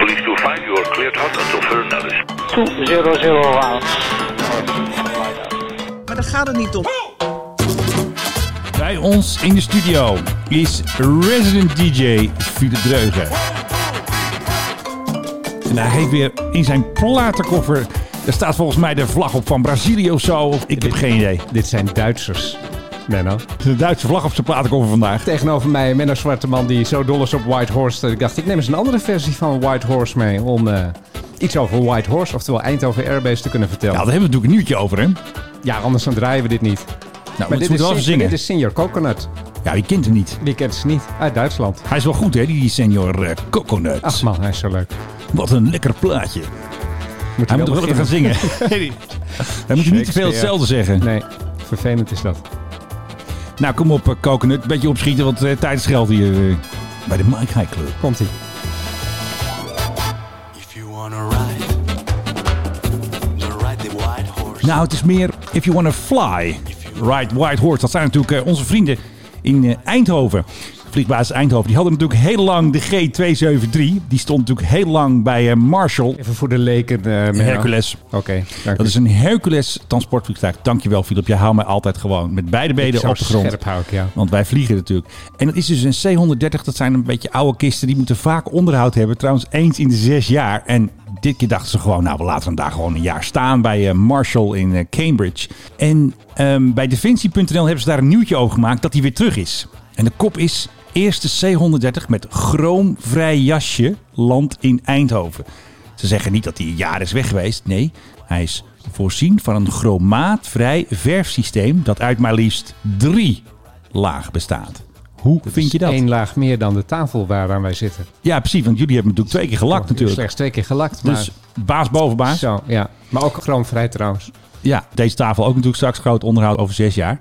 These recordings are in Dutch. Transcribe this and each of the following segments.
five, you are cleared out until further notice. 2001. Maar daar gaat het niet om. Bij ons in de studio is resident DJ Philip Dreugen. En hij heeft weer in zijn platenkoffer... Daar staat volgens mij de vlag op van Brazilië of zo. Ik heb geen idee. Dit zijn Duitsers. Menno. De Duitse vlag op zijn platenkoffer vandaag. Tegenover mij Menno Zwarteman die zo dol is op White Horse. Dat ik dacht, ik neem eens een andere versie van White Horse mee. Om eh, iets over White Horse, oftewel Eindhoven Airbase, te kunnen vertellen. Ja, Ja, daar hebben we natuurlijk een nieuwtje over, hè? Nou, anders dan draaien we dit niet. maar dit dit moet wel is, even Sin- zingen. dit is Senior Coconut. Ja, die kent hem niet. Die kent ze niet. Uit Duitsland. Hij is wel goed, hè, die senior eh, Coconut. Ach man, hij is zo leuk. Wat een lekker plaatje. Moet Hij moet wel wel even gaan beginnen? zingen. Hij moet je niet te veel Shakespeare. hetzelfde zeggen. Nee, vervelend is dat. Nou, kom op, eh, Coconut. Een beetje opschieten, want eh, tijd is geld hier. eh, bij de Mike High Club. Komt ie. If you wanna ride, then ride the white horse. Nou, het is meer If You Wanna Fly. Ride White Horse. Dat zijn natuurlijk eh, onze vrienden in eh, Eindhoven. Vliegbasis Eindhoven. Die hadden natuurlijk heel lang de G273. Die stond natuurlijk heel lang bij eh, Marshall. Even voor de leken, eh Menno. Hercules. Oké, dank Dat u. is een Hercules transportvliegtuig. Dankjewel, Philip. Je houdt mij altijd gewoon met beide benen Zo op de grond. scherp hou ik, ja. Want wij vliegen natuurlijk. En het is dus een C-130. Dat zijn een beetje oude kisten. Die moeten vaak onderhoud hebben. Trouwens, eens in de zes jaar. En dit keer dachten ze gewoon... Nou, we laten hem daar gewoon een jaar staan. Bij eh, Marshall in eh, Cambridge. En ehm, bij Defensie.nl hebben ze daar een nieuwtje over gemaakt... dat hij weer terug is. En de kop is... Eerste C-130 met chroomvrij jasje landt in Eindhoven. Ze zeggen niet dat hij een jaar is weg geweest. Nee, hij is voorzien van een chromaatvrij verfsysteem... dat uit maar liefst drie laag bestaat. Hoe vind je dat? Eén laag meer dan de tafel waaraan wij zitten. Ja, precies, want jullie hebben natuurlijk twee keer gelakt natuurlijk. Slechts twee keer gelakt, maar... Dus baas boven baas. Zo, ja. Maar ook chroomvrij trouwens. Ja, deze tafel ook natuurlijk straks groot onderhoud over zes jaar.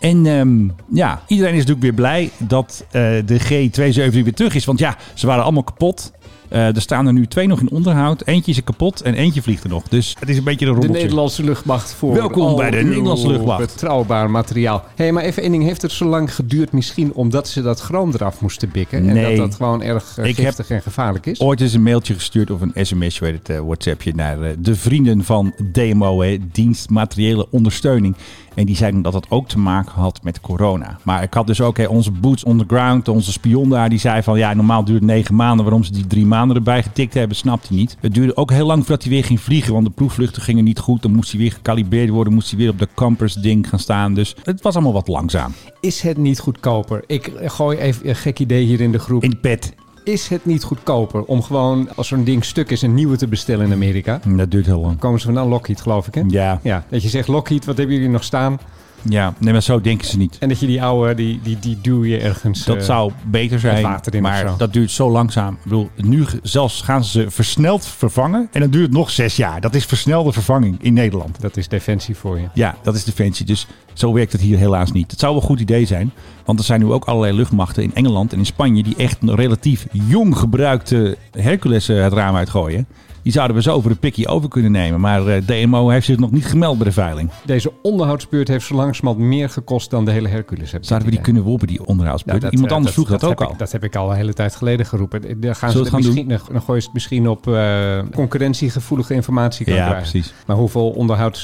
En ehm, ja, iedereen is natuurlijk weer blij dat eh, de G273 weer terug is. Want ja, ze waren allemaal kapot. Eh, er staan er nu twee nog in onderhoud. Eentje is er kapot en eentje vliegt er nog. Dus het is een beetje een De rommeltje. Nederlandse luchtmacht voor. Welkom al bij de uw Nederlandse luchtmacht. Betrouwbaar materiaal. Hé, hey, maar even één ding. Heeft het zo lang geduurd misschien omdat ze dat chroom eraf moesten bikken? Nee. En dat dat gewoon erg eh, Ik heb- giftig en gevaarlijk is? Ooit eens een mailtje gestuurd of een sms, je weet het, eh, WhatsAppje naar eh, de vrienden van DMO, hè, Dienst Materiële Ondersteuning. En die zeiden dat dat ook te maken had met corona. Maar ik had dus ook hè, onze boots on the ground, onze spion daar, die zei van ja, normaal duurt het negen maanden. Waarom ze die drie maanden erbij getikt hebben, snapt hij niet. Het duurde ook heel lang voordat hij weer ging vliegen, want de proefvluchten gingen niet goed. Dan moest hij weer gekalibreerd worden, moest hij weer op de campers ding gaan staan. Dus het was allemaal wat langzaam. Is het niet goedkoper? Ik eh, gooi even een gek idee hier in de groep. In de pet. Is het niet goedkoper om gewoon, als zo'n ding stuk is, een nieuwe te bestellen in Amerika? Hm, Dat duurt heel lang. Komen ze vandaan Lockheed, geloof ik, hè? Ja, Ja, dat je zegt, Lockheed, wat hebben jullie nog staan? ja. Nee, maar zo denken ze niet. En dat je die oude, die, die, die duw je ergens... Dat eh, zou beter met zijn, water in of maar zo. dat duurt zo langzaam. Ik bedoel, nu ge- zelfs gaan ze ze versneld vervangen en dat duurt nog zes jaar. Dat is versnelde vervanging in Nederland. Dat is defensie voor je. Ja, dat is defensie. Dus zo werkt het hier helaas niet. Het zou wel een goed idee zijn, want er zijn nu ook allerlei luchtmachten in Engeland en in Spanje die echt een relatief jong gebruikte Hercules eh, het raam uitgooien. Die zouden we zo over de pikkie over kunnen nemen. Maar eh, DMO heeft zich nog niet gemeld bij de veiling. Deze onderhoudsbeurt heeft zo langzamerhand meer gekost dan de hele Hercules. heb ik Zouden we het die idee. kunnen worpen, die onderhoudsbeurt? Nou, dat, Iemand eh, anders vroeg dat, ook heb al. Ik, dat heb ik al een hele tijd geleden geroepen. Eh, Dan, gaan we ze het gaan misschien, dan gooien ze het misschien op eh, concurrentiegevoelige informatie kan Ja, krijgen. precies. Maar hoeveel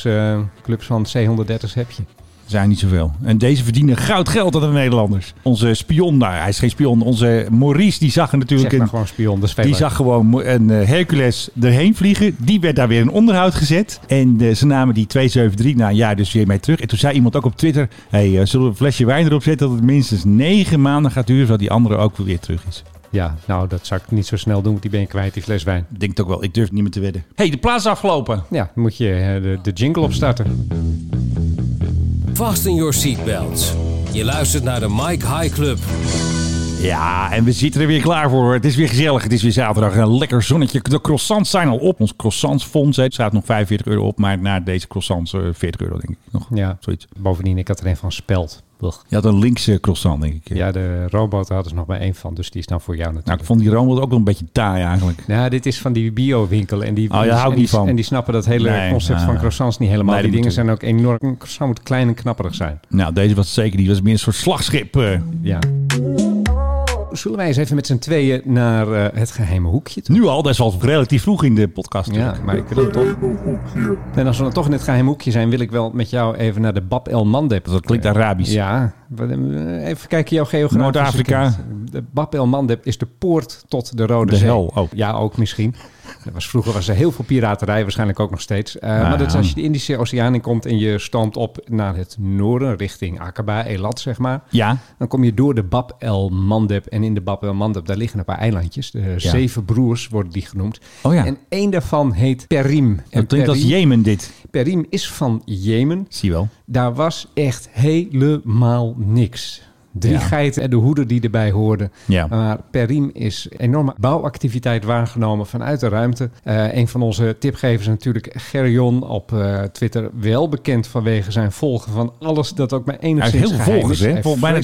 onderhoudsclubs van C130's heb je? zijn niet zoveel. En deze verdienen goud geld aan de Nederlanders. Onze spion, nou hij is geen spion, onze Maurice, die zag er natuurlijk Zeg maar een... gewoon spion, de speler. Die zag gewoon mo- een eh, Hercules erheen vliegen. Die werd daar weer in onderhoud gezet. En eh, ze namen die 273 na een jaar dus weer mee terug. En toen zei iemand ook op Twitter... Hey, eh, zullen we een flesje wijn erop zetten dat het minstens negen maanden gaat duren... zodat die andere ook weer terug is. Ja, nou dat zou ik niet zo snel doen, want die ben je kwijt, die fles wijn. Ik denk het ook wel, ik durf het niet meer te wedden. hey, de plaats is afgelopen. Ja, dan moet je eh, de, de jingle opstarten. Fasten your seatbelts. Je luistert naar de Mike High Club. Ja, en we zitten er weer klaar voor. Het is weer gezellig. Het is weer zaterdag. Een lekker zonnetje. De croissants zijn al op. Ons croissantsfonds hè, staat nog 45 euro op. Maar na deze croissants eh, 40 euro, denk ik nog. Ja. Zoiets. Bovendien, ik had er een van Speld. Je had een linkse croissant, denk ik. Ja. Ja, de robot hadden ze nog maar één van, dus die is dan voor jou natuurlijk. Nou, ik vond die rommel ook wel een beetje taai eigenlijk. Nou, dit is van die bio-winkel. En die, Oh, daar hou ik en die- niet van. En die snappen dat hele Nee, concept nou, van nou. croissants niet helemaal. Nee, die die dingen moet- zijn ook enorm. Een croissant moet klein en knapperig zijn. Nou, deze was zeker. Die was meer een soort slagschip. eh. Ja. zullen wij eens even met z'n tweeën naar eh, het geheime hoekje toe? Nu al, dat is al relatief vroeg in de podcast. Ja, maar ik wil toch. En als we dan toch in het geheim hoekje zijn, wil ik wel met jou even naar de Bab El Mandeb. Dat klinkt Arabisch. Ja, wat- eh, even kijken jouw geografie. Noord-Afrika. De Bab El Mandeb is de poort tot de Rode De Zee. hel oh. ook. Ja, ook misschien. Er was, vroeger was er heel veel piraterij, waarschijnlijk ook nog steeds. Eh, Nou maar dat is als je de Indische Oceaan in komt en je stoomt op naar het noorden, richting Aqaba, Elat zeg maar. Ja. Dan kom je door de Bab el Mandeb. En in de Bab el Mandeb, daar liggen een paar eilandjes. De zeven broers worden die genoemd. Oh ja. En één daarvan heet Perim. En Dat klinkt als Perim- Jemen dit. Perim is van Jemen. Zie je wel. Daar was echt helemaal niks. Drie Ja. geiten en de hoeden die erbij hoorden. Ja. Maar Perim is enorme bouwactiviteit waargenomen vanuit de ruimte. Eh, een van onze tipgevers natuurlijk, Gerjon op eh, Twitter. Wel bekend vanwege zijn volgen van alles dat ook maar Hij enigszins heeft heel veel geheim volgers, is. hè? Hij Volgens bijna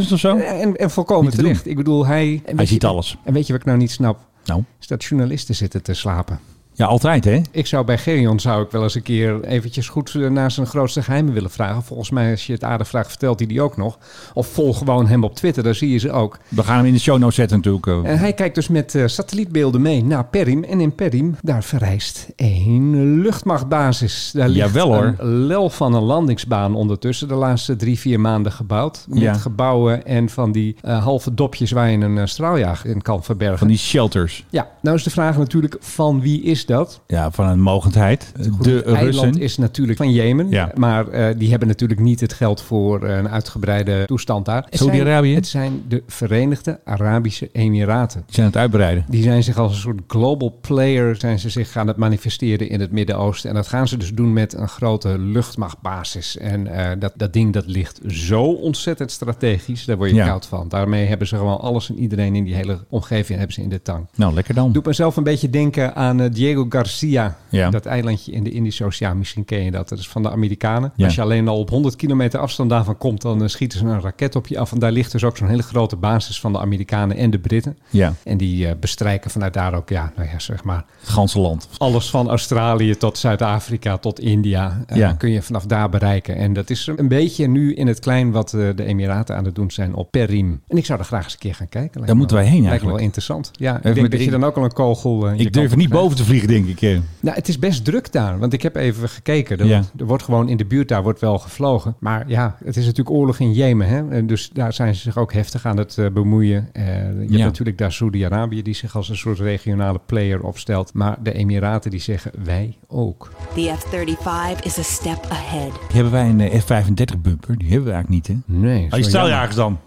20.000 of zo. en, en volkomen Oh. Niet te terecht. Ik bedoel, hij... en weet ziet je- alles. En weet je wat ik nou niet snap? Nou, Is dat journalisten zitten te slapen. ja, altijd, hè? Ik zou bij Gerion zou ik wel eens een keer eventjes goed eh, naar zijn grootste geheimen willen vragen. Volgens mij, als je het aardig vraagt, vertelt hij die ook nog. Of volg gewoon hem op Twitter, daar zie je ze ook. We gaan hem in de show notes zetten natuurlijk. eh. En hij kijkt dus met eh, satellietbeelden mee naar Perim. En in Perim, daar verrijst één luchtmachtbasis. Daar ligt Jawel, hoor. een lel van een landingsbaan ondertussen. De laatste drie, vier maanden gebouwd. Met Ja. gebouwen en van die eh, halve dopjes waar je een eh, straaljager in kan verbergen. Van die shelters. Ja, nou is de vraag natuurlijk van wie is dat? Ja, van een mogendheid. De Het eiland Russen. is natuurlijk van Jemen, Ja. maar eh, die hebben natuurlijk niet het geld voor eh, een uitgebreide toestand daar. Het zijn- Saudi-Arabië? Het zijn de Verenigde Arabische Emiraten. Die zijn aan het uitbreiden. Die zijn zich als een soort global player zijn ze zich gaan het manifesteren in het Midden-Oosten. En dat gaan ze dus doen met een grote luchtmachtbasis. En eh, dat, dat ding dat ligt zo ontzettend strategisch, daar word je Ja. koud van. Daarmee hebben ze gewoon alles en iedereen in die hele omgeving hebben ze in de tang. Nou, lekker dan. Doet mezelf een beetje denken aan eh, Diego Garcia. Ja. Dat eilandje in de Indische Oceaan. Misschien ken je dat. Dat is van de Amerikanen. Ja. Als je alleen al op 100 kilometer afstand daarvan komt... dan eh, schieten ze een raket op je af. En daar ligt dus ook zo'n hele grote basis van de Amerikanen en de Britten. Ja, En die eh, bestrijken vanuit daar ook, ja, nou ja, zeg maar... het ganse land. alles van Australië tot Zuid-Afrika tot India... eh, Ja. kun je vanaf daar bereiken. En dat is een beetje nu in het klein wat eh, de Emiraten aan het doen zijn op Perim. En ik zou er graag eens een keer gaan kijken. Lijkt Daar me moeten wel- wij heen Lijkt me wel eigenlijk. interessant. Ja, ik Even denk met- dat je ik- dan ook al een kogel... eh, in je Ik durf kant niet krijgt. boven te vliegen, denk ik. eh. Nou, het is best druk daar. Want ik heb even gekeken. Er, Ja. wordt, er wordt gewoon in de buurt daar wordt wel gevlogen. Maar ja, het is natuurlijk oorlog in Jemen. Hè? En dus daar zijn ze zich ook heftig aan het eh, bemoeien. Eh, je Ja. hebt natuurlijk daar Saudi-Arabië die zich als een soort regionale player opstelt. Maar de Emiraten die zeggen wij ook. The F 35 is a step ahead. Hebben wij een eh, F-35 bumper? Die hebben we eigenlijk niet, hè? Nee, Als Oh, je zo jammer. straaljagers Ah, dan.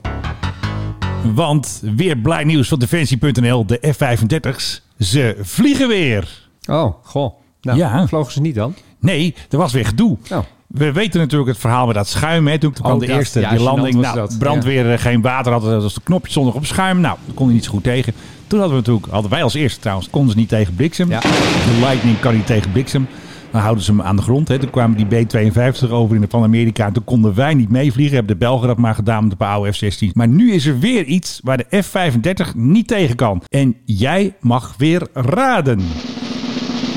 Want weer blij nieuws van Defensie.nl. De F-35's, ze vliegen weer. Oh, goh. Nou, Ja. vlogen ze niet dan? Nee, er was weer gedoe. Oh. We weten natuurlijk het verhaal met dat schuim. Hè. Toen kwam Oh, de dat- eerste ja, die gênant landing. was Nou, dat, brandweer, eh, geen water hadden. Dat was de knopje zondag op schuim. Nou, daar kon hij niet zo goed tegen. Toen hadden we natuurlijk, hadden wij als eerste trouwens, konden ze niet tegen bliksem. Ja. De Lightning kan niet tegen bliksem. Dan houden ze hem aan de grond. Hè. Toen kwamen die B-52 over in de Pan-Amerika. En toen konden wij niet meevliegen. Hebben de Belgen dat maar gedaan met een paar oude F-16. Maar nu is er weer iets waar de F-35 niet tegen kan. En jij mag weer raden.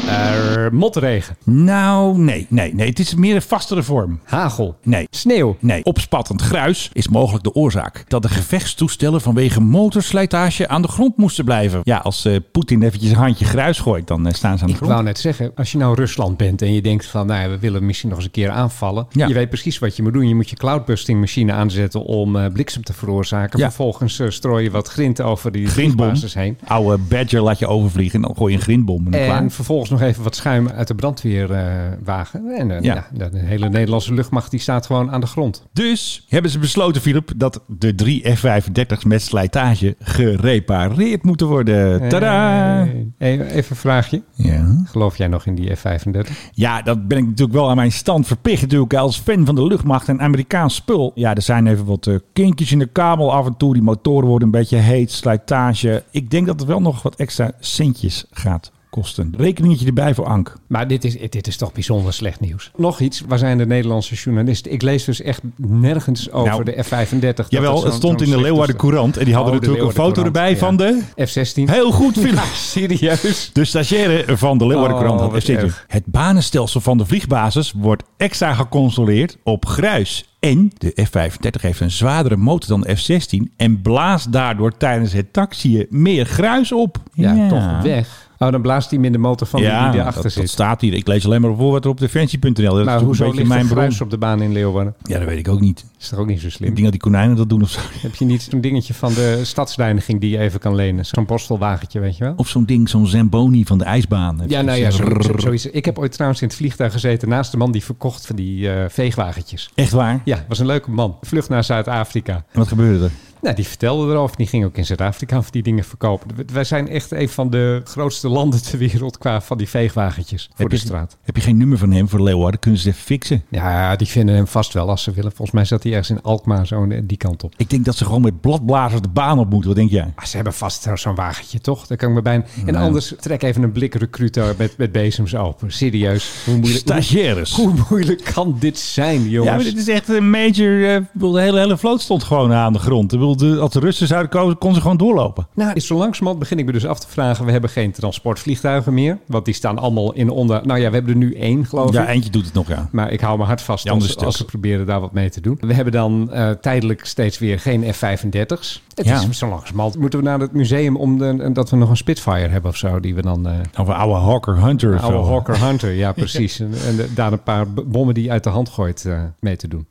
Eh, motregen, Nou, nee, nee, nee. Het is meer een vastere vorm. hagel, Nee. sneeuw. Nee, opspattend gruis is mogelijk de oorzaak. Dat de gevechtstoestellen vanwege motorslijtage aan de grond moesten blijven. Ja, als eh, Poetin eventjes een handje gruis gooit, dan eh, staan ze aan de Ik grond. wou net zeggen, als je nou Rusland bent en je denkt van, nou ja, we willen misschien nog eens een keer aanvallen. Ja. Je weet precies wat je moet doen. Je moet je cloudbusting machine aanzetten om eh, bliksem te veroorzaken. Ja. Vervolgens eh, strooi je wat grind over die Grindbom. basis heen. Oude Badger laat je overvliegen en dan gooi je een grindbom. En dan klaar. En vervolgens nog even wat schuim uit de brandweerwagen. en eh, Ja. ja. de hele Nederlandse luchtmacht die staat gewoon aan de grond. Dus hebben ze besloten, Philip, dat de drie F-35's met slijtage gerepareerd moeten worden. Tadaa! Hey, Eh, even een vraagje. Ja. Geloof jij nog in die F-35? Ja, dat ben ik natuurlijk wel aan mijn stand verplicht. Natuurlijk als fan van de luchtmacht en Amerikaans spul. Ja, er zijn even wat eh, kinkjes in de kabel af en toe. Die motoren worden een beetje heet, slijtage. Ik denk dat er wel nog wat extra centjes gaat kosten. Rekeningetje erbij voor Ank. Maar dit is, dit is toch bijzonder slecht nieuws. Nog iets, waar zijn de Nederlandse journalisten? Ik lees dus echt nergens over Nou, de F-35. dat Jawel, zo'n- het stond zo'n in de slechte Leeuwarden stand- Courant. En die hadden Oh, de natuurlijk een foto Leeuwarden erbij van Courant, de... ja. F-16. Heel Ah, goed, Philip. Ja, serieus. De stagiaire van de Leeuwarden Oh, Courant had wat echt zitten. erg. Het banenstelsel van de vliegbasis wordt extra gecontroleerd op gruis. En de F-35 heeft een zwaardere motor dan de F-16 en blaast daardoor tijdens het taxiën meer gruis op. Ja, toch weg. Oh, dan blaast hij hem in de motor van Ja, die dat, erachter dat zit. staat hier. Ik lees alleen maar voor wat er op defensie.nl. Dat is nou, toch een hoezo beetje ligt mijn mijn bron. bruis op de baan in Leeuwarden? Ja, dat weet ik ook niet. Is toch ook niet zo slim? Ik denk dat die konijnen dat doen of zo. Heb je niet zo'n dingetje van de stadsreiniging die je even kan lenen? Zo'n borstelwagentje, weet je wel? Of zo'n ding, zo'n Zamboni van de ijsbaan. Ja, nou ja, zo, zo- zoiets. Ik heb ooit trouwens in het vliegtuig gezeten naast de man die verkocht van die eh, veegwagentjes. Echt waar? Ja, was een leuke man. Vlucht naar Zuid-Afrika. En wat gebeurde er? Nou, die vertelde erover. Die ging ook in Zuid-Afrika voor die dingen verkopen. We- Wij zijn echt een van de grootste landen ter wereld qua van die veegwagentjes voor Heb de je- straat. Heb je geen nummer van hem voor Leeuwarden? Kunnen ze het even fixen? Ja, die vinden hem vast wel als ze willen. Volgens mij zat hij ergens in Alkmaar zo eh, die kant op. Ik denk dat ze gewoon met bladblazers de baan op moeten. Wat denk jij? Ah, ze hebben vast zo- zo'n wagentje, toch? Daar kan ik me bijna... En anders trek even een blik recruiter met, met bezems open. Serieus. Hoe moeilijk, hoe, Stagiaires. hoe moeilijk kan dit zijn, Ja, jongens? maar dit is echt een major. eh, ik bedoel, de hele, hele vloot stond gewoon aan de grond. Ik bedoel, de, als de Russen zouden komen, konden ze gewoon doorlopen. Nou, zo langzamerhand begin ik me dus af te vragen... we hebben geen transportvliegtuigen meer. Want die staan allemaal in onder... Nou ja, we hebben er nu één, geloof Ja, ik. eentje doet het nog aan. Maar ik hou me hard vast Ja, als, ander stuk. als ze proberen daar wat mee te doen. We hebben dan eh, tijdelijk steeds weer geen F-35's. Het Ja. is zo langzamerhand. Moeten we naar het museum om de, dat we nog een Spitfire hebben of zo... die we dan... eh, Of een oude Hawker Hunter. of Oude zo. Hawker Hunter, ja precies. En, en de- daar een paar b- bommen die je uit de hand gooit eh, mee te doen.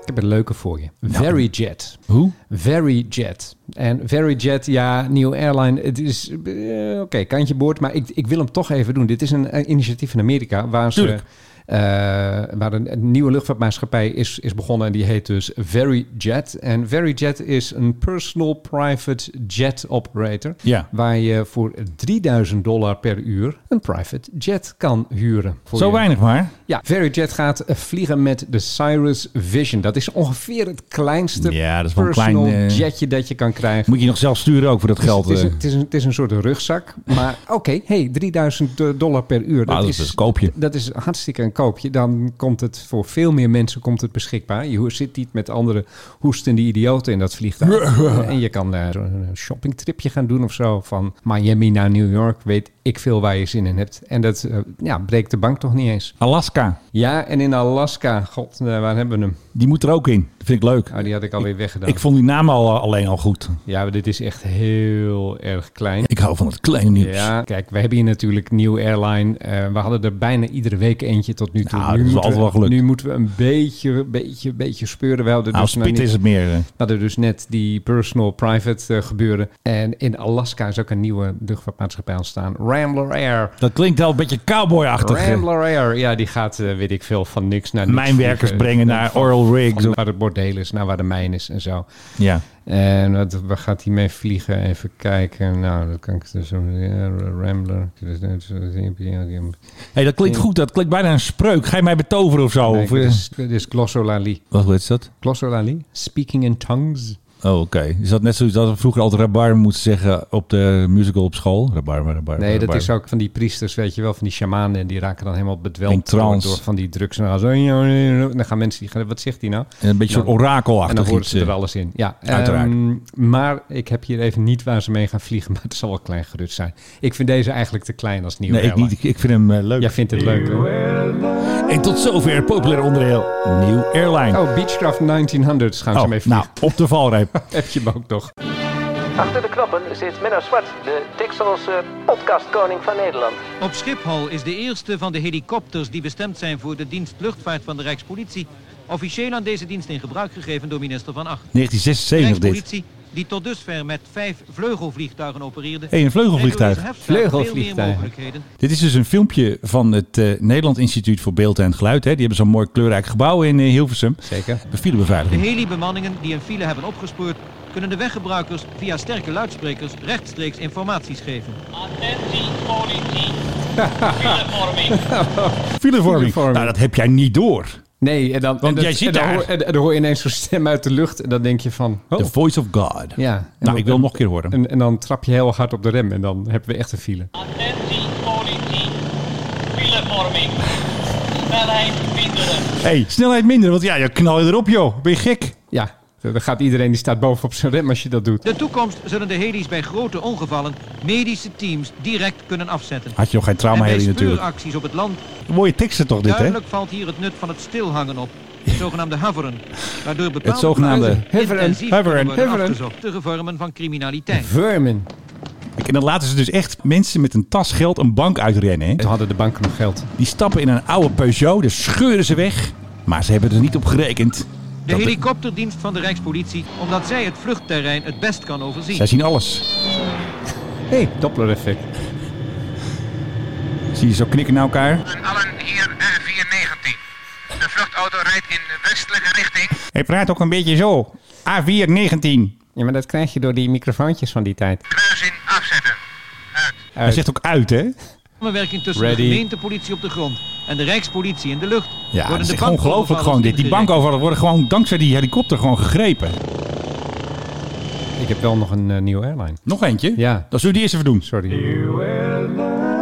Ik heb een leuke voor je. Veryjet. Hoe? Veryjet. En Veryjet, ja, nieuw airline. Het is, eh, oké, kantje boord. Maar ik, ik wil hem toch even doen. Dit is een eh, initiatief in Amerika waar ze... Tuurlijk. eh, waar een, een nieuwe luchtvaartmaatschappij is, is begonnen en die heet dus Veryjet. En Veryjet is een personal private jet operator. Ja. Waar je voor 3000 dollar per uur een private jet kan huren. Voor Zo je- weinig maar. ja, Veryjet gaat eh, vliegen met de Cyrus Vision. Dat is ongeveer het kleinste Ja, dat is wel een personal klein, eh, jetje dat je kan krijgen. Dus Moet je nog zelf sturen ook voor dat geld. het, is, eh. een, het, is een, het is een soort rugzak. Maar oké, hey, 3000 dollar per uur. dat is dus een koopje. Dat is hartstikke een koopje. Dan komt het voor veel meer mensen komt het beschikbaar. Je zit niet met andere hoestende idioten in dat vliegtuig. en je kan eh, een shoppingtripje gaan doen of zo. Van Miami naar New York. Weet ik veel waar je zin in hebt. En dat eh, ja, breekt de bank toch niet eens. Alaska, Ja, en in Alaska. God, eh, waar hebben we hem? die moet er ook in. Dat vind ik leuk. Oh, die had ik alweer weggedaan. Ik vond die naam al, eh, alleen al goed. Ja, maar dit is echt heel erg klein. Ik hou van het kleine nieuws. Ja, kijk, we hebben hier natuurlijk Nieuw Airline. Eh, we hadden er bijna iedere week eentje tot nu toe. Nou, nu, dat is moeten altijd wel we, gelukt. nu moeten we een beetje, beetje, beetje speuren. We hadden Nou, dus nog spit niet- is het meer. eh. We hadden dus net die personal private eh, gebeuren. En in Alaska is ook een nieuwe luchtvaartmaatschappij ontstaan. Rambler Air. Dat klinkt wel een beetje cowboy-achtig. eh. Rambler Air, ja, die gaat, eh, weet ik veel, van niks naar niks. Mijnwerkers vliegen. brengen naar Van- oil rigs van of- Waar het bordeel is, naar waar de mijn is en zo. Ja. En wat, waar gaat hij mee vliegen? Even kijken. Nou, dat kan ik dus zo... ja, Rambler. Hey, dat klinkt goed. Dat klinkt bijna een spreuk. Ga je mij betoveren of zo? Nee, of, dit eh, is, dit is glossolalie. Wat is dat? Glossolalie? Speaking in tongues. Oh, oké. Is dat net zoiets als we vroeger altijd rabar moesten zeggen op de musical op school? Rabar, rabar. Nee, dat is ook van die priesters, weet je wel, van die shamanen. En die raken dan helemaal In bedwelmd door, trance. door van die drugs. En dan gaan ze- dan gaan mensen die gaan, wat zegt hij nou? Een beetje Dan- zo'n orakelachtig En dan horen iets, ze er eh. alles in. Ja, Uiteraard. ehm, maar ik heb hier even niet waar ze mee gaan vliegen. Maar het zal wel klein gerust zijn. Ik vind deze eigenlijk te klein als nieuw. Nee, ik, airline. niet, ik, ik vind hem eh, leuk. Jij vindt het leuk, hè? En tot zover het populair onderdeel Nieuw Airline. Oh, Beechcraft 1900 gaan ze Oh, mee vliegen. nou, op de valreep. Heb je hem ook nog. Achter de knoppen zit Menno Zwart, de Texelse podcastkoning van Nederland. Op Schiphol is de eerste van de helikopters die bestemd zijn voor de dienst luchtvaart van de Rijkspolitie officieel aan deze dienst in gebruik gegeven door minister Van Acht. 1976 dit. Rijkspolitie die tot dusver met vijf vleugelvliegtuigen opereerde. Hey, een vleugelvliegtuig. heeft door deze hefzaak Veel Vleugelvliegtuig. meer mogelijkheden. Dit is dus een filmpje van het eh, Nederland Instituut voor Beeld en Geluid. Hè. Die hebben zo'n mooi kleurrijk gebouw in eh, Hilversum. Zeker. De Filebeveiliging. heli-bemanningen die een file hebben opgespoord kunnen de weggebruikers via sterke luidsprekers rechtstreeks informaties geven. Filevorming. Filevorming. Nou, dat heb jij niet door. Nee, en dan, Want en dat- jij ziet en dan daar- hoor, en, en dan hoor je ineens zo'n stem uit de lucht. En dan denk je van... Oh, The Voice of God. ja. Nou, En dan- ik wil nog een keer horen. En, en dan trap je heel hard op de rem. En dan hebben we echt een file. Attentie, politie. Filevorming. Snelheid minderen. hey, snelheid minder, want ja, je knal je erop, joh. Ben je gek? Ja, dan gaat iedereen die staat bovenop zijn rem als je dat doet. De toekomst zullen de helis bij grote ongevallen medische teams direct kunnen afzetten. Had je nog geen en trauma bij heli natuurlijk. speuracties op het land Mooie teksten toch dit, hè? duidelijk valt hier het nut van het stilhangen op. Het zogenaamde haveren. Waardoor bepaalde Het zogenaamde plaatsen haveren, intensief haveren, kunnen worden haveren. afgezocht. Tegen vormen van criminaliteit. Vermin. Kijk, En dan laten ze dus echt mensen met een tas geld een bank uitrennen. Hè? Toen hadden de banken nog geld. Die stappen in een oude Peugeot, dus scheuren ze weg. Maar ze hebben er niet op gerekend. De Dat het- helikopterdienst van de Rijkspolitie, omdat zij het vluchtterrein het best kan overzien. Zij zien alles. Hé, hey, Doppler effect. Zie je zo knikken naar elkaar. Allen hier R419. De vluchtauto rijdt in westelijke richting. Het praat ook een beetje zo. A419. Ja, maar dat krijg je door die microfoontjes van die tijd. Kruising afzetten. Hij zegt ook uit, hè? Samenwerking tussen Ready. de gemeentepolitie op de grond en de Rijkspolitie in de lucht. Ja, worden dat is de echt bankovervallers ongelooflijk gewoon dit. Die ingerekend. bankovervallen worden gewoon dankzij die helikopter gewoon gegrepen. Ik heb wel nog een eh, nieuwe airline. Nog eentje? Ja. Dan zullen we die eerst even doen. Sorry.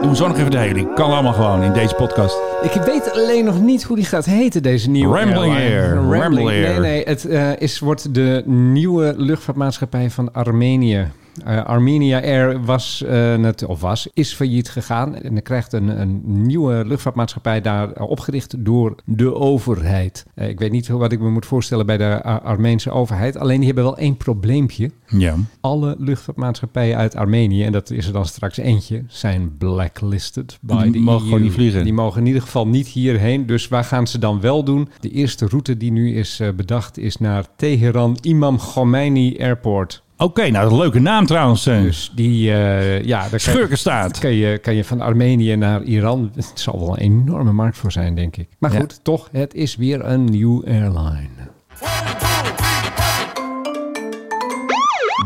Doen we zo nog even de heli. Kan allemaal gewoon in deze podcast. Ik weet alleen nog niet hoe die gaat heten, deze nieuwe Rambling airline. Air. Rambling Air. Nee, nee. Het eh, is, wordt de nieuwe luchtvaartmaatschappij van Armenië. Eh, Armenia Air was, eh, net, of was, is failliet gegaan. En er krijgt een, een nieuwe luchtvaartmaatschappij daar opgericht door de overheid. Eh, ik weet niet wat ik me moet voorstellen bij de Ar- Armeense overheid. Alleen die hebben wel één probleempje. Ja. alle luchtvaartmaatschappijen uit Armenië, en dat is er dan straks eentje, zijn blacklisted by Die the mogen EU. gewoon niet vliegen. Die mogen in ieder geval niet hierheen. Dus waar gaan ze dan wel doen? De eerste route die nu is eh, bedacht is naar Teheran Imam Khomeini Airport. Oké, nou, dat is een leuke naam trouwens. eh. Dus die, eh, ja, daar kan- Schurkenstaat. Kan je, kan je van Armenië naar Iran. Het zal wel een enorme markt voor zijn, denk ik. Maar Ja. goed, toch, het is weer een nieuw airline.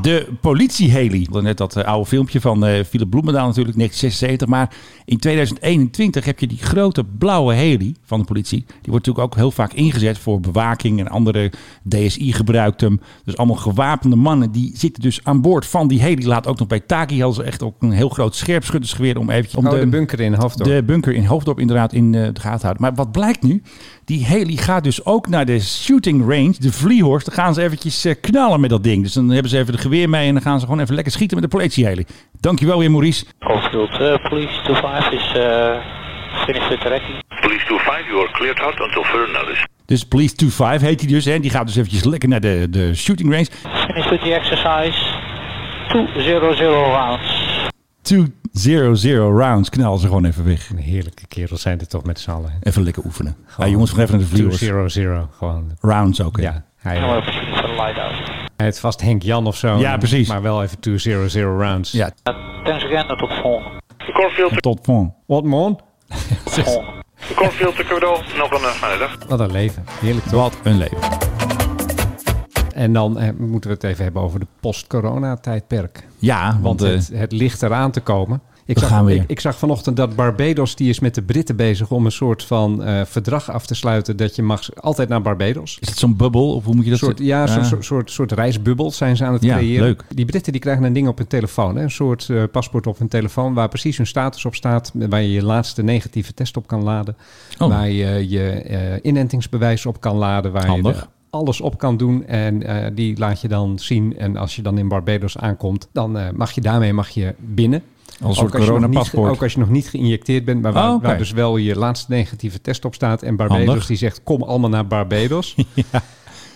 De politieheli. We hadden Net dat eh, oude filmpje van eh Philip Bloemendaal natuurlijk, 1976. Maar in 2021 heb je die grote blauwe heli van de politie. Die wordt natuurlijk ook heel vaak ingezet voor bewaking en andere DSI gebruikt hem. Dus allemaal gewapende mannen die zitten dus aan boord van die heli. Laat ook nog bij Taki hadden ze echt ook een heel groot scherpschuttersgeweer om eventjes... om Oh, de bunker in Hoofddorp. de bunker in Hoofddorp inderdaad in eh, de gaten houden. Maar wat blijkt nu? Die heli gaat dus ook naar de shooting range, de Vliehorst. Dan gaan ze eventjes eh, knallen met dat ding. Dus dan hebben ze even de geweer mee en dan gaan ze gewoon even lekker schieten met de politieheli. Dankjewel weer Maurice. Hoofddoel uh, Police 25 is eh finished with tracking. Police 25, you are cleared out until further notice. Dus Police 25 heet hij dus. Hè. Die gaat dus eventjes lekker naar de, de shooting range. Finished with the exercise 200 rounds. 200 rounds knallen ze gewoon even weg. Een heerlijke kerel zijn er toch met z'n allen. Even lekker oefenen. Ja, jongens, we gaan even naar de Vliehorst. 200, gewoon Rounds ook. hè. Ja, hij, eh, En we hebben precies voor de light out. hij heet vast Henk Jan of zo. Ja, precies. Maar wel even 200 rounds. Ja. Thanks again, tot volgende. Cornfield, Tot van. Wat man? Cornfield, de cadeau, nog een namiddag. Wat een leven. Heerlijk toch? Wat een leven. En dan eh, moeten we het even hebben over de post-corona-tijdperk. Ja, Want want eh, het, het ligt eraan te komen. Ik we zag, gaan weer. Ik, ik zag vanochtend dat Barbados, die is met de Britten bezig om een soort van eh, verdrag af te sluiten. Dat je mag altijd naar Barbados. is het zo'n bubbel? Of hoe moet je dat Soort, zeggen? ja, zo'n soort, soort, soort reisbubbel zijn ze aan het Ja, creëren. leuk. Die Britten die krijgen een ding op hun telefoon. Hè? Een soort eh, paspoort op hun telefoon waar precies hun status op staat. Waar je je laatste negatieve test op kan laden. Oh. Waar je je eh, inentingsbewijs op kan laden. Waar je Handig. er alles op kan doen. En eh, die laat je dan zien. En als je dan in Barbados aankomt, dan eh, mag je daarmee mag je binnen. Als een Ook soort als je nog niet- coronapaspoort. Ook als je nog niet geïnjecteerd bent, maar waar, Oh, oké. waar dus wel je laatste negatieve test op staat. En Barbados Handig. die zegt, kom allemaal naar Barbados.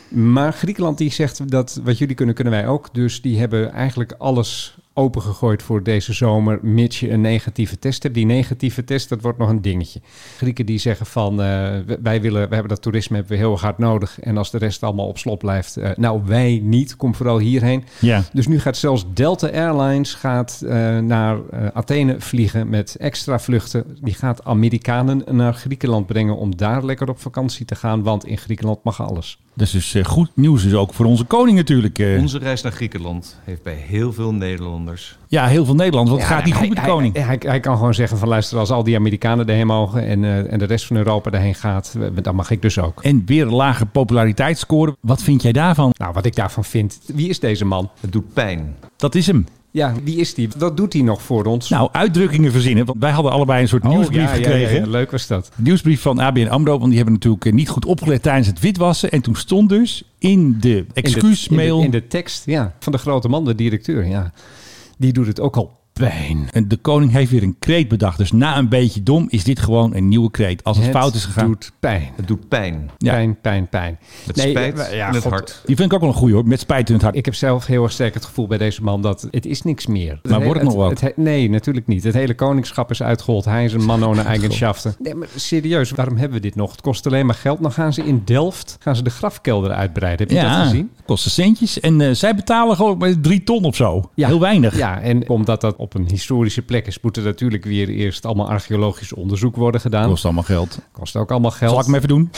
Maar Griekenland die zegt dat wat jullie kunnen, kunnen wij ook. Dus die hebben eigenlijk alles opengegooid voor deze zomer, mits je een negatieve test hebt. Die negatieve test, dat wordt nog een dingetje. Grieken die zeggen van, eh, w- wij willen, we hebben dat toerisme hebben we heel erg hard nodig. En als de rest allemaal op slot blijft, eh, nou wij niet, kom vooral hierheen. Ja. Dus nu gaat zelfs Delta Airlines gaat, eh, naar eh, Athene vliegen met extra vluchten. Die gaat Amerikanen naar Griekenland brengen om daar lekker op vakantie te gaan, want in Griekenland mag alles. Dat is dus eh, goed nieuws, dus ook voor onze koning natuurlijk. eh. Onze reis naar Griekenland heeft bij heel veel Nederlanders. Ja, heel veel Nederlanders, want het Ja, gaat niet hij- goed met de hij- koning. Hij, hij, hij kan gewoon zeggen van luister, als al die Amerikanen daarheen mogen en, eh, en de rest van Europa daarheen gaat, eh, dan mag ik dus ook. En weer een lage populariteitsscore. Wat vind jij daarvan? Nou, wat ik daarvan vind, wie is deze man? Het doet pijn. Dat is hem. Ja, wie is die? Wat doet hij nog voor ons? Nou, uitdrukkingen verzinnen. Want wij hadden allebei een soort Oh, nieuwsbrief ja, ja, ja, gekregen. ja, leuk was dat. Nieuwsbrief van ABN AMRO. Want die hebben natuurlijk eh, niet goed opgelet tijdens het witwassen. En toen stond dus in de In de- excuusmail... In, de- in de tekst, ja. Van de grote man, de directeur, ja. Die doet het ook al pijn. En de koning heeft weer een kreet bedacht. Dus na een beetje dom is dit gewoon een nieuwe kreet. Als het, fout is gegaan. doet pijn. Het doet pijn. Ja. Pijn, pijn, pijn. Het Nee, spijt ja, in het God, hart. Die vind ik ook wel een goeie hoor. Met spijt in het hart. Ik heb zelf heel erg sterk het gevoel bij deze man dat het is niks meer. Maar wordt het nog wel? he- nee, natuurlijk niet. Het hele koningschap is uitgehold. Hij is een man ohne eigenschaften. Nee, maar serieus, waarom hebben we dit nog? Het kost alleen maar geld. Dan gaan ze in Delft gaan ze de grafkelder uitbreiden. Heb je dat gezien? kosten centjes. En eh, zij betalen gewoon maar drie ton of zo. Ja. Heel weinig. Ja, en omdat dat op een historische plek is, moet er natuurlijk weer eerst allemaal archeologisch onderzoek worden gedaan. Kost allemaal geld. Kost ook allemaal geld. Zal ik hem even doen?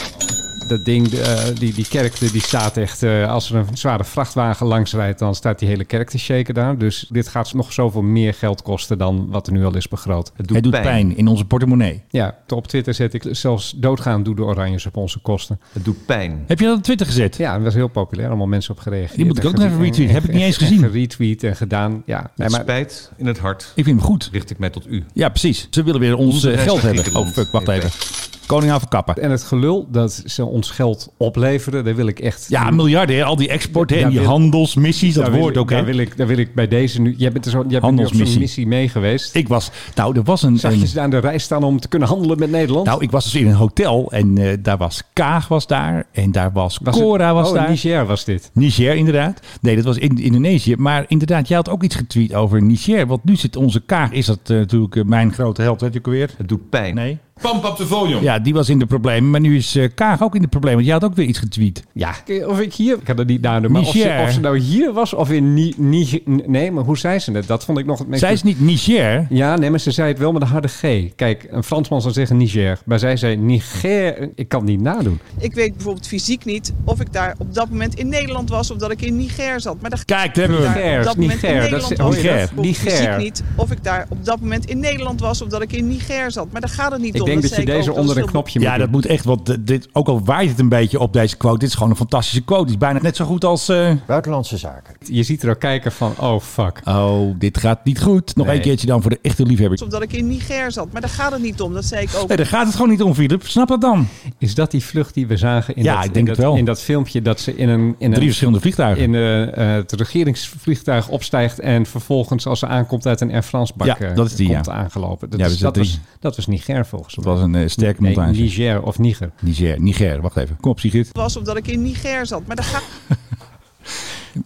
Dat ding, eh, die, die kerk, die staat echt... eh, als er een zware vrachtwagen langs rijdt, dan staat die hele kerk te shaken daar. Dus dit gaat nog zoveel meer geld kosten dan wat er nu al is begroot. Het doet, Hij doet pijn. pijn in onze portemonnee. Ja, op Twitter zet ik zelfs doodgaan doe de oranjes op onze kosten. Het doet pijn. Heb je dat op Twitter gezet? Ja, dat was heel populair. Allemaal mensen op gereageerd. Die moet ik ook nog even retweeten. Heb ik niet eens gezien. Retweet en gedaan. Ja, nee, Het maar spijt in het hart Ik vind hem goed. richt ik mij tot u. Ja, precies. Ze willen weer ons Onze eh, reis geld naar hebben. Oh, Griekenland. fuck, wacht Even. even. Koning aan verkappen. En het gelul dat ze ons geld opleveren, daar wil ik echt. Ja, miljarden, hè. al die export hè, en Ja, die wil- handelsmissies, dat daar wil woord ik- ook. Daar Hè. wil, ik, daar wil ik bij deze nu. Jij bent er zo, jij bent nu op zo'n Handelsmissie. missie mee geweest. Ik was, nou, er was een, Zag een- je ze daar aan de rij staan om te kunnen handelen met Nederland? nou, ik was dus in een hotel en eh, daar was Kaag was daar en daar was, Was het- Cora was oh, daar. Niger was dit. Niger inderdaad. Nee, dat was in Indonesië. Maar inderdaad, jij had ook iets getweet over Niger. Want nu zit onze Kaag, is dat eh, natuurlijk eh, mijn grote held, weet je ook weer? Het doet pijn. Nee. Pamp op de volume. Ja, die was in de problemen. Maar nu is eh, Kaag ook in de problemen. Want jij had ook weer iets getweet. Ja, of ik hier... Ik had het niet nadenken, maar of ze, Niger. of ze nou hier was of in Ni- Ni- Nee, maar hoe zei ze het? Dat vond ik nog het meest... Zij is niet Niger. Ja, nee, maar ze zei het wel met een harde G. Kijk, een Fransman zou zeggen Niger. Maar zij zei Niger... Ik kan het niet nadoen. Ik weet bijvoorbeeld fysiek niet of ik daar op dat moment in Nederland was of dat ik in Niger zat. Maar daar Kijk, daar hebben we hem. Niger, op dat moment in Niger, dat Nederland is- oh, was. hoor je dat? Ik weet bijvoorbeeld Niger. fysiek niet of ik daar op dat moment in Nederland was of dat ik in Niger zat. Maar daar gaat het niet Ik om. denk dat je zei ik deze ook, dat onder een is heel knopje moet Ja, dat doen. moet echt, want eh, dit, ook al waait het een beetje op deze quote, dit is gewoon een fantastische quote. Die is bijna net zo goed als... eh, Buitenlandse zaken. Je ziet er ook kijken van, oh fuck. oh, dit gaat niet goed. Nog Nee. een keertje dan voor de echte liefhebber. Of dat ik in Niger zat. Maar daar gaat het niet om. Dat zei ik ook. Nee, daar gaat het gewoon niet om, Philip. Snap dat dan? Is dat die vlucht die we zagen in, Ja, dat, ik denk in, het dat- wel. in dat filmpje dat ze in een, in Drie een, verschillende vliegtuigen. in, eh, eh, het regeringsvliegtuig opstijgt en vervolgens als ze aankomt uit een Air France bak Ja, eh, dat is die, komt ja. aangelopen. Dat, Ja, is, we dat, zitten was, drie. dat was Niger volgens Dat mij. was een eh, sterke Nee, montage. Niger of Niger. Niger, Niger, wacht even. Kom op, Sigrid. was of dat ik in Niger zat. Maar daar gaat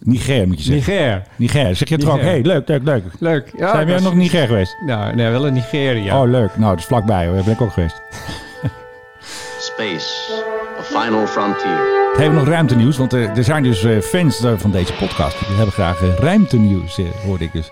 Niger moet je zeggen. Niger, Niger. Zeg je toch ook, Niger. hey, leuk, leuk, leuk. leuk. Ja, Zijn we dat nog is- Niger geweest? Nou, nee, wel in Nigeria. Oh, leuk. Nou, dat is vlakbij. Daar ben ik ook geweest. Space, a final frontier. We hebben nog ruimtenieuws, want eh, er zijn dus eh, fans eh, van deze podcast. Die hebben graag eh, ruimtenieuws, eh, hoorde ik dus.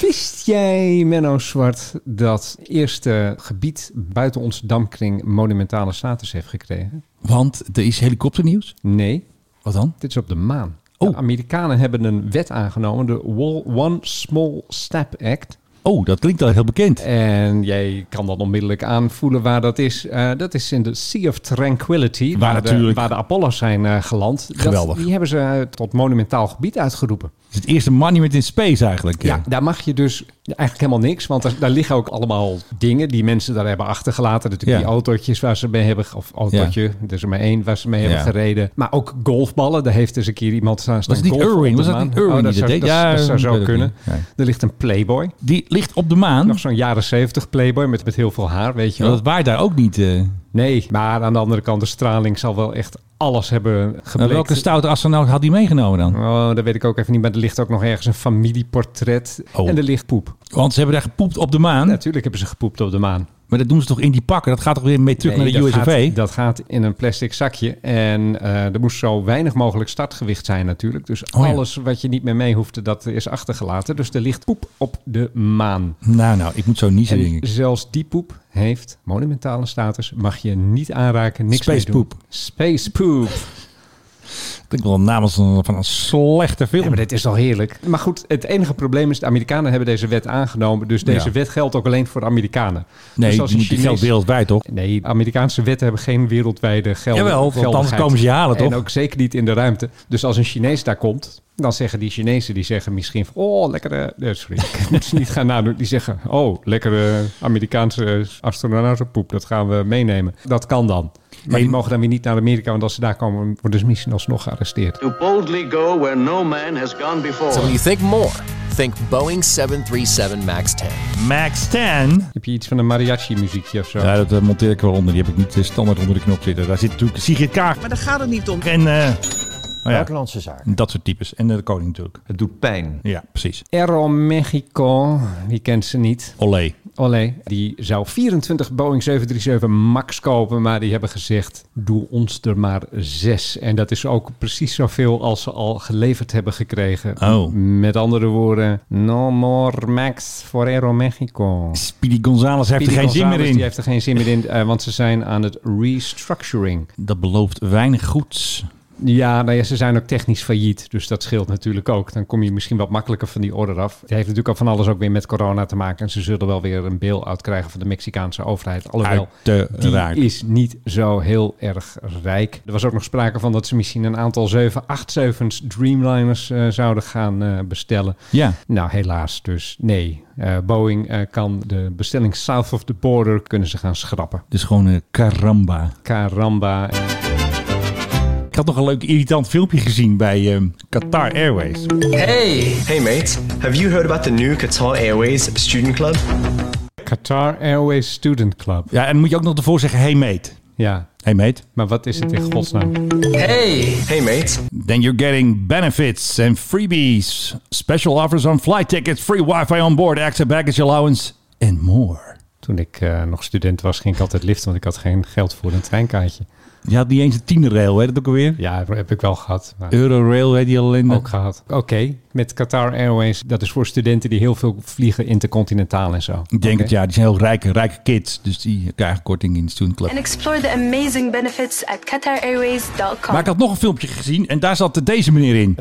Wist jij, Menno Zwart, dat eerste gebied buiten onze damkring monumentale status heeft gekregen? Want er is helikopternieuws. Nee, Wat dan? Dit is op de maan. Oh. De Amerikanen hebben een wet aangenomen, de Wall- One Small Step Act. Oh, dat klinkt al heel Eh. bekend. En jij kan dan onmiddellijk aanvoelen waar dat is. Eh, dat is in de Sea of Tranquility, Waar de, natuurlijk- waar de Apollo's zijn eh, geland. Dat- Geweldig. die hebben ze eh, tot monumentaal gebied uitgeroepen. Het is het eerste monument in space eigenlijk. eh. Ja, daar mag je dus eigenlijk helemaal niks. Want daar, daar liggen ook allemaal dingen die mensen daar hebben achtergelaten. Natuurlijk Ja. die autootjes waar ze mee hebben... Of autootje, er is er maar één waar ze mee hebben Ja. gereden. Maar ook golfballen. Daar heeft eens een keer iemand staan. Was het niet golfen op Irwin? de Was dat maan. niet Irwin Oh, die dat dat zou, deed? dat, Ja, dat zou weet zo ik kunnen. niet. Nee. Er ligt een Playboy. Die ligt op de maan. Nog zo'n jaren zeventig Playboy met, met heel veel haar, weet je Ja, wel. dat waait daar ook niet. eh. Nee, maar aan de andere kant, de straling zal wel echt alles hebben Maar gebleekt. welke stoute astronaut had die meegenomen dan? Oh, dat weet ik ook even niet. Maar er ligt ook nog ergens een familieportret. Oh. En er ligt poep. Want ze hebben daar gepoept op de maan. Natuurlijk hebben ze gepoept op de maan. Maar dat doen ze toch in die pakken? Dat gaat toch weer mee terug Nee, naar de dat USV? Gaat, dat gaat in een plastic zakje. En eh, er moest zo weinig mogelijk startgewicht zijn natuurlijk. Dus Oh ja. alles wat je niet meer mee hoeft, dat is achtergelaten. Dus er ligt poep op de maan. Nou, nou, ik moet zo niezen, En denk ik. zelfs die poep heeft monumentale status. Mag je niet aanraken, niks Space mee doen. poep. Space poep. Klinkt wel namens van een slechte film. Ja, maar dit is al heerlijk. Maar goed, het enige probleem is... de Amerikanen hebben deze wet aangenomen. Dus deze Ja. wet geldt ook alleen voor de Amerikanen. Nee, dus als een die Chinees- geldt wereldwijd, toch? Nee, Amerikaanse wetten hebben geen wereldwijde geld. Jawel, want anders komen ze je halen, toch? En ook zeker niet in de ruimte. Dus als een Chinees daar komt... Dan zeggen die Chinezen, die zeggen misschien van... Oh, lekkere... Nee, sorry, ik moet ze niet gaan nadoen. Die zeggen, oh, lekkere Amerikaanse astronautenpoep. Dat gaan we meenemen. Dat kan dan. Maar die mogen dan weer niet naar Amerika. Want als ze daar komen, worden ze misschien alsnog gearresteerd. To boldly go where no man has gone before. So when you think more, think Boeing 737 MAX 10. Max 10. Heb je iets van een mariachi muziekje of zo? Ja, dat eh, monteer ik wel onder. Die heb ik niet eh, standaard onder de knop zitten. Daar zit natuurlijk Sigrid Kaag. Maar daar gaat het niet om. En, eh, nou ja, Buitenlandse zaken. Dat soort types. En eh, de koning natuurlijk. Het doet pijn. Ja, precies. Aero Mexico, die kent ze niet. Olé. Olé. Die zou 24 Boeing 737 MAX kopen, maar die hebben gezegd, doe ons er maar zes. En dat is ook precies zoveel als ze al geleverd hebben gekregen. Oh. Met andere woorden, no more MAX voor Aero Mexico. Speedy Gonzales heeft er Speedy geen zin meer Gonzales, in. Die heeft er geen zin meer in, eh, want ze zijn aan het restructuring. Dat belooft weinig goeds. Ja, nou ja, ze zijn ook technisch failliet. Dus dat scheelt natuurlijk ook. Dan kom je misschien wat makkelijker van die order af. Het heeft natuurlijk ook van alles ook weer met corona te maken. En ze zullen wel weer een bail-out krijgen van de Mexicaanse overheid. Alhoewel, Uiteraard. die is niet zo heel erg rijk. Er was ook nog sprake van dat ze misschien een aantal 787's Dreamliners eh, zouden gaan eh, bestellen. Ja. Nou, helaas dus. Nee, Eh, Boeing eh, kan de bestelling south of the border kunnen ze gaan schrappen. Dus gewoon eh, karamba. Caramba. Ik had nog een leuk irritant filmpje gezien bij eh, Qatar Airways. Hey! Hey mates, have you heard about the new Qatar Airways student club? Qatar Airways Student Club. Ja, en dan moet je ook nog ervoor zeggen, hey mate. Ja. Hey mate. Maar wat is het in godsnaam? Hey! Hey mates. Then you're getting benefits and freebies. Special offers on flight tickets, free wifi on board, extra baggage allowance and more. Toen ik eh, nog student was, ging ik altijd liften, want ik had geen geld voor een treinkaartje. Je had niet eens een tienerrail, hè? Dat ook alweer? Ja, heb ik wel gehad. maar- Eurorail, weet je al in. Ook gehad. Oké, met Qatar Airways. Dat is voor studenten die heel veel vliegen intercontinentaal en zo. Ik denk het, ja. Die zijn heel rijke, rijke kids. Dus die krijgen korting in de student club. and explore the amazing benefits at QatarAirways.com. Maar ik had nog een filmpje gezien en daar zat deze meneer in.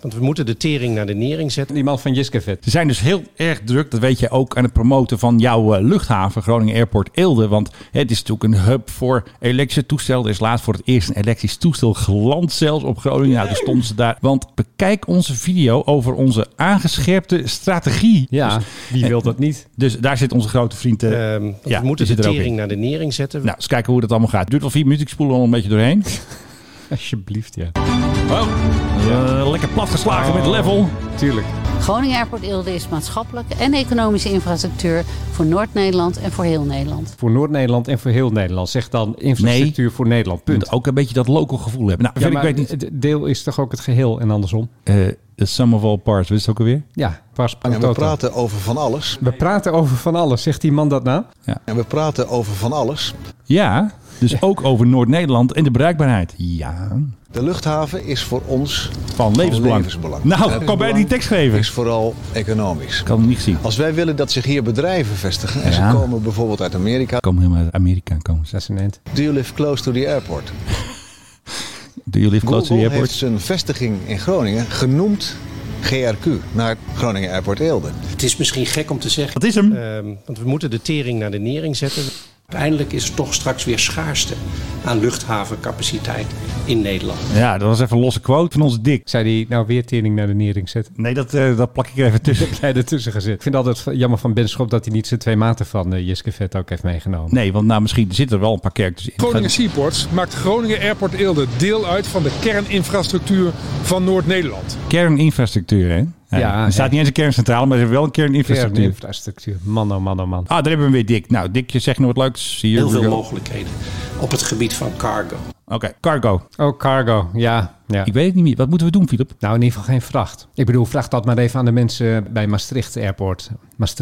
want we moeten de tering naar de nering zetten. Die man van Jiskevet. Ze zijn dus heel erg druk, dat weet je ook, aan het promoten van jouw eh, luchthaven, Groningen Airport Eelde. Want het is natuurlijk een hub voor elektrische toestellen. Er is laatst voor het eerst een elektrisch toestel geland zelfs op Groningen. Nou, toen stonden ze daar. Want bekijk onze video over onze aangescherpte strategie. Ja, wie wil dat niet? Ehm, Dus daar zit onze grote vriend. eh, ja, we moeten die de zit er ook in. tering naar de nering zetten. Nou, eens kijken hoe dat allemaal gaat. Duurt al vier minuten, ik spoel er al een beetje doorheen. Alsjeblieft, ja. Oh, eh, lekker platgeslagen met level. Tuurlijk. Groningen Airport Eelde is maatschappelijke en economische infrastructuur voor Noord-Nederland en voor heel Nederland. Voor Noord-Nederland en voor heel Nederland. Zeg dan infrastructuur voor Nederland. Punt. Ook een beetje dat local gevoel hebben. Nou, Ja, verder, maar ik weet niet. het deel is toch ook het geheel en andersom? eh the sum of all parts, wist je het ook alweer? Ja, pas En we praten over van alles. We praten over van alles. Zegt die man dat nou? En we praten over van alles. Ja, dus ook over Noord-Nederland en de bereikbaarheid. Ja. De luchthaven is voor ons van levensbelang. Nou, kom bij die tekstgever. Is vooral economisch. Kan hem niet zien. Als wij willen dat zich hier bedrijven vestigen en Ja. ze komen bijvoorbeeld uit Amerika. Komen helemaal uit Amerika. Komen ze. Dat is een eind. Do you live close to the airport? Do you live close to the Google heeft airport? zijn vestiging in Groningen genoemd GRQ naar Groningen Airport Eelde. Het is misschien gek om te zeggen. Dat is Eh. hem. Ehm, want we moeten de tering naar de nering zetten. Uiteindelijk is er toch straks weer schaarste aan luchthavencapaciteit in Nederland. Ja, dat was even een losse quote van onze dik. Zei die nou weer tering naar de nering zetten? Nee, dat, eh, dat plak ik er even tussen. Dat jij ertussen gezet. Ik vind het altijd jammer van Ben Schop dat hij niet zijn twee maten van eh, Jiske Vet ook heeft meegenomen. Nee, want nou, misschien zitten er wel een paar kerktes in. Groningen Seaports maakt Groningen Airport Eelde deel uit van de kerninfrastructuur van Noord-Nederland. Kerninfrastructuur, hè? Ja, Ja, er staat hè. niet eens een kerncentrale, maar er is wel een kerninfrastructuur. Kerninfrastructuur. Man, oh man, oh man. Ah, daar hebben we hem weer, Dick. Nou, Dick, je zegt nog wat leuks. Hier Heel we veel go. mogelijkheden op het gebied van cargo. Oké, cargo. Oh, cargo. Ja, ja. Ik weet het niet meer. Wat moeten we doen, Filip? Nou, in ieder geval geen vracht. Ik bedoel, vraag dat maar even aan de mensen bij Maastricht Airport.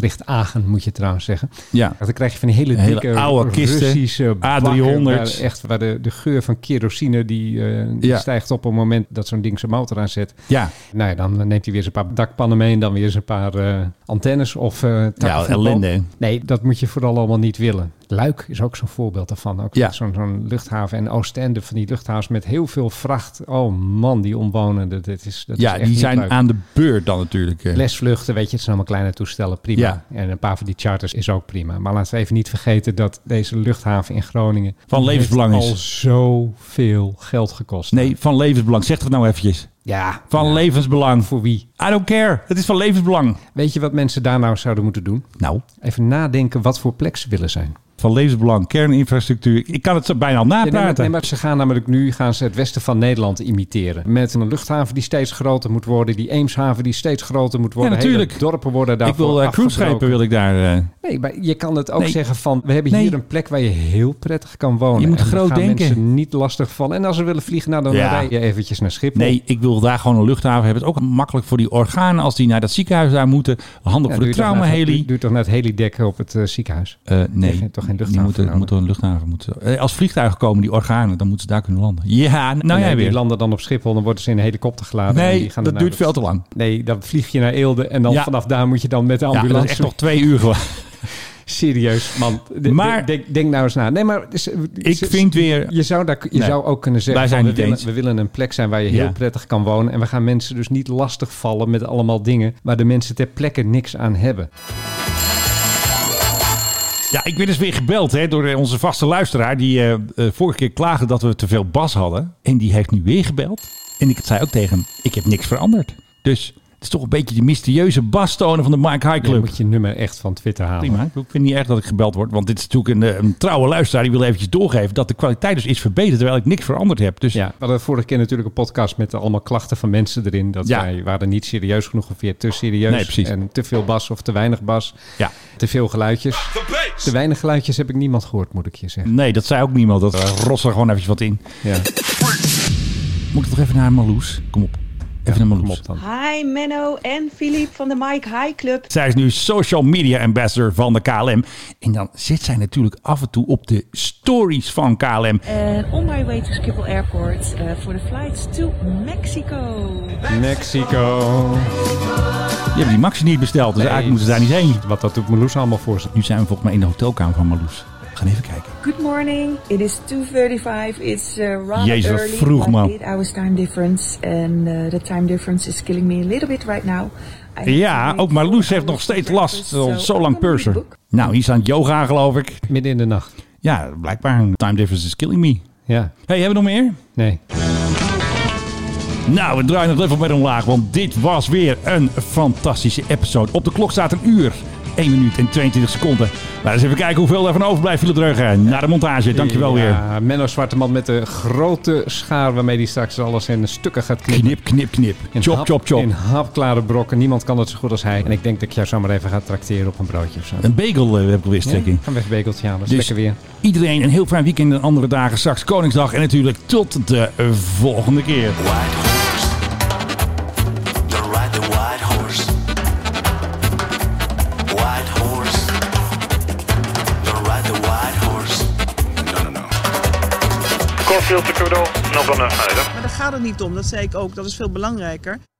Maastricht-Agen moet je trouwens zeggen. Ja. Dan krijg je van die hele Hele dikke oude kisten. Russische A300's. bakken Waar, echt, waar de, de geur van kerosine die, eh, die Ja. stijgt op het moment dat zo'n ding zijn motor aanzet. Ja. Nou ja, dan neemt hij weer eens een paar dakpannen mee en dan weer eens een paar eh, antennes of eh takken Ja, voetbal. ellende, hè? Nee, dat moet je vooral allemaal niet willen. Luik is ook zo'n voorbeeld daarvan. Ook Ja. zo'n zo'n luchthaven en Oostende van die luchthavens met heel veel vracht. Oh man, die omwonenden. Dat is, dat ja, is echt die niet zijn leuk. aan de beurt dan natuurlijk. eh. Lesvluchten, weet je, het zijn allemaal kleine toestellen, prima. Ja. En een paar van die charters is ook prima. Maar laten we even niet vergeten dat deze luchthaven in Groningen... Van die levensbelang heeft is. al zoveel geld gekost. Nee, van levensbelang. Zeg dat nou eventjes. Ja. Van levensbelang. Voor wie? I don't care. Het is van levensbelang. Weet je wat mensen daar nou zouden moeten doen? Nou? Even nadenken wat voor plek ze willen zijn. Van levensbelang, kerninfrastructuur. Ik kan het zo bijna al Ja, nee, maar, napraten. nee, maar ze gaan namelijk nu gaan ze het westen van Nederland imiteren. Met een luchthaven die steeds groter moet worden. Die Eemshaven die steeds groter moet worden. Ja, natuurlijk. Hele dorpen worden ik daarvoor wil eh, afgebroken. cruiseschepen wil ik daar. eh. Nee, maar je kan het ook Nee. zeggen van... we hebben Nee. hier een plek waar je heel prettig kan wonen. Je moet En we groot gaan denken. mensen niet lastig vallen. En als ze willen vliegen, nou, dan Ja. rij je eventjes naar Schiphol. Nee, ik wil daar gewoon een luchthaven hebben. Het is ook makkelijk voor die organen als die naar dat ziekenhuis daar moeten. Handig Ja, voor de doe je toch naar- traumaheli. doe- Doe toch naar het helidek op het eh, ziekenhuis? Eh Je nee, hebt toch geen die luchthaven moeten, nodig? moeten een luchthaven. Moeten. eh, als vliegtuigen komen, die organen, dan moeten ze daar kunnen landen. Ja, nou Nee, jij Die weer. landen dan op Schiphol, dan worden ze in een helikopter geladen. Nee, en die dat gaan daarna duurt op- veel te lang. Nee, dan vlieg je naar Eelde en dan Ja. vanaf daar moet je dan met de Ja, ambulance... dat is echt nog twee uur gewoon. Serieus, man. De- Maar- de- denk, denk nou eens na. Nee, maar dus, eh, Ik ze- vind weer- Je zou, daar, je Nee, zou ook kunnen zeggen: wij zijn van, niet we, willen, eens. we willen een plek zijn waar je heel Ja. prettig kan wonen. En we gaan mensen dus niet lastig vallen met allemaal dingen waar de mensen ter plekke niks aan hebben. Ja, ik ben dus weer gebeld hè, door eh, onze vaste luisteraar. Die eh, eh, vorige keer klaagde dat we te veel bas hadden. En die heeft nu weer gebeld. En ik zei ook tegen hem, ik heb niks veranderd. Dus het is toch een beetje die mysterieuze bastonen van de Mike High Je Club. moet je nummer echt van Twitter halen. Prima. Ik vind niet erg dat ik gebeld word. Want dit is natuurlijk een, eh, een trouwe luisteraar. Die wil eventjes doorgeven dat de kwaliteit dus is verbeterd. Terwijl ik niks veranderd heb. Dus Ja, we hadden vorige keer natuurlijk een podcast met allemaal klachten van mensen erin. Dat Ja. wij waren niet serieus genoeg of weer te serieus. Nee, precies. En te veel bas of te weinig bas. Ja. Te veel geluidjes. Te weinig geluidjes heb ik niemand gehoord, moet ik je zeggen. nee, dat zei ook niemand. Dat eh, rost er gewoon eventjes wat in. Ja. Moet ik toch even naar Marloes? Kom op. Even naar Marloes. dan. Hi Menno en Filip van de Mike High Club. Zij is nu social media ambassador van de KLM. En dan zit zij natuurlijk af en toe op de stories van KLM. And on my way to Schiphol Airport uh, for the flights to Mexico. Mexico. Die hebben die Maxi niet besteld, dus Nee. eigenlijk moeten ze daar niet heen. Wat dat doet Marloes allemaal voor ze. Nu zijn we volgens mij in de hotelkamer van Marloes. We gaan even kijken. Good morning. It is 2:35. It's uh, rather Jezus, wat early. vroeg, but man. Eight hours time difference and uh, the time difference is killing me a little bit right now. I Ja, ook Marloes heeft nog steeds last dus, van eh, zo lang purser. Nou, hier staan yoga geloof ik. Midden in de nacht. Ja, blijkbaar. Time difference is killing me. Ja. Hey, hebben we nog meer? Nee. Nou, we draaien het level met omlaag, want dit was weer een fantastische episode. Op de klok staat een uur, 1 minuut en 22 seconden. Laten we eens even kijken hoeveel daarvan overblijft, Philip Dreugen. Naar de montage, dankjewel weer. Ja, Menno Zwarteman met de grote schaar waarmee hij straks alles in stukken gaat knippen. Knip, knip, knip. Chop, hap- chop, chop. In hapklare brokken. Niemand kan dat zo goed als hij. En ik denk dat ik jou zomaar even ga trakteren op een broodje of zo. Een bagel eh, heb ik alweer Ja, strekking. Gaan weg, bekeltje halen. Dat is Dus- lekker weer. Iedereen een heel fijn weekend en andere dagen. Straks Koningsdag en natuurlijk tot de eh, volgende keer. White horse. Don't ride the white horse. White horse. Don't ride the white horse. No, no, no. Cornfield de Crudo, nog een Maar daar gaat het niet om, dat zei ik ook, dat is veel belangrijker.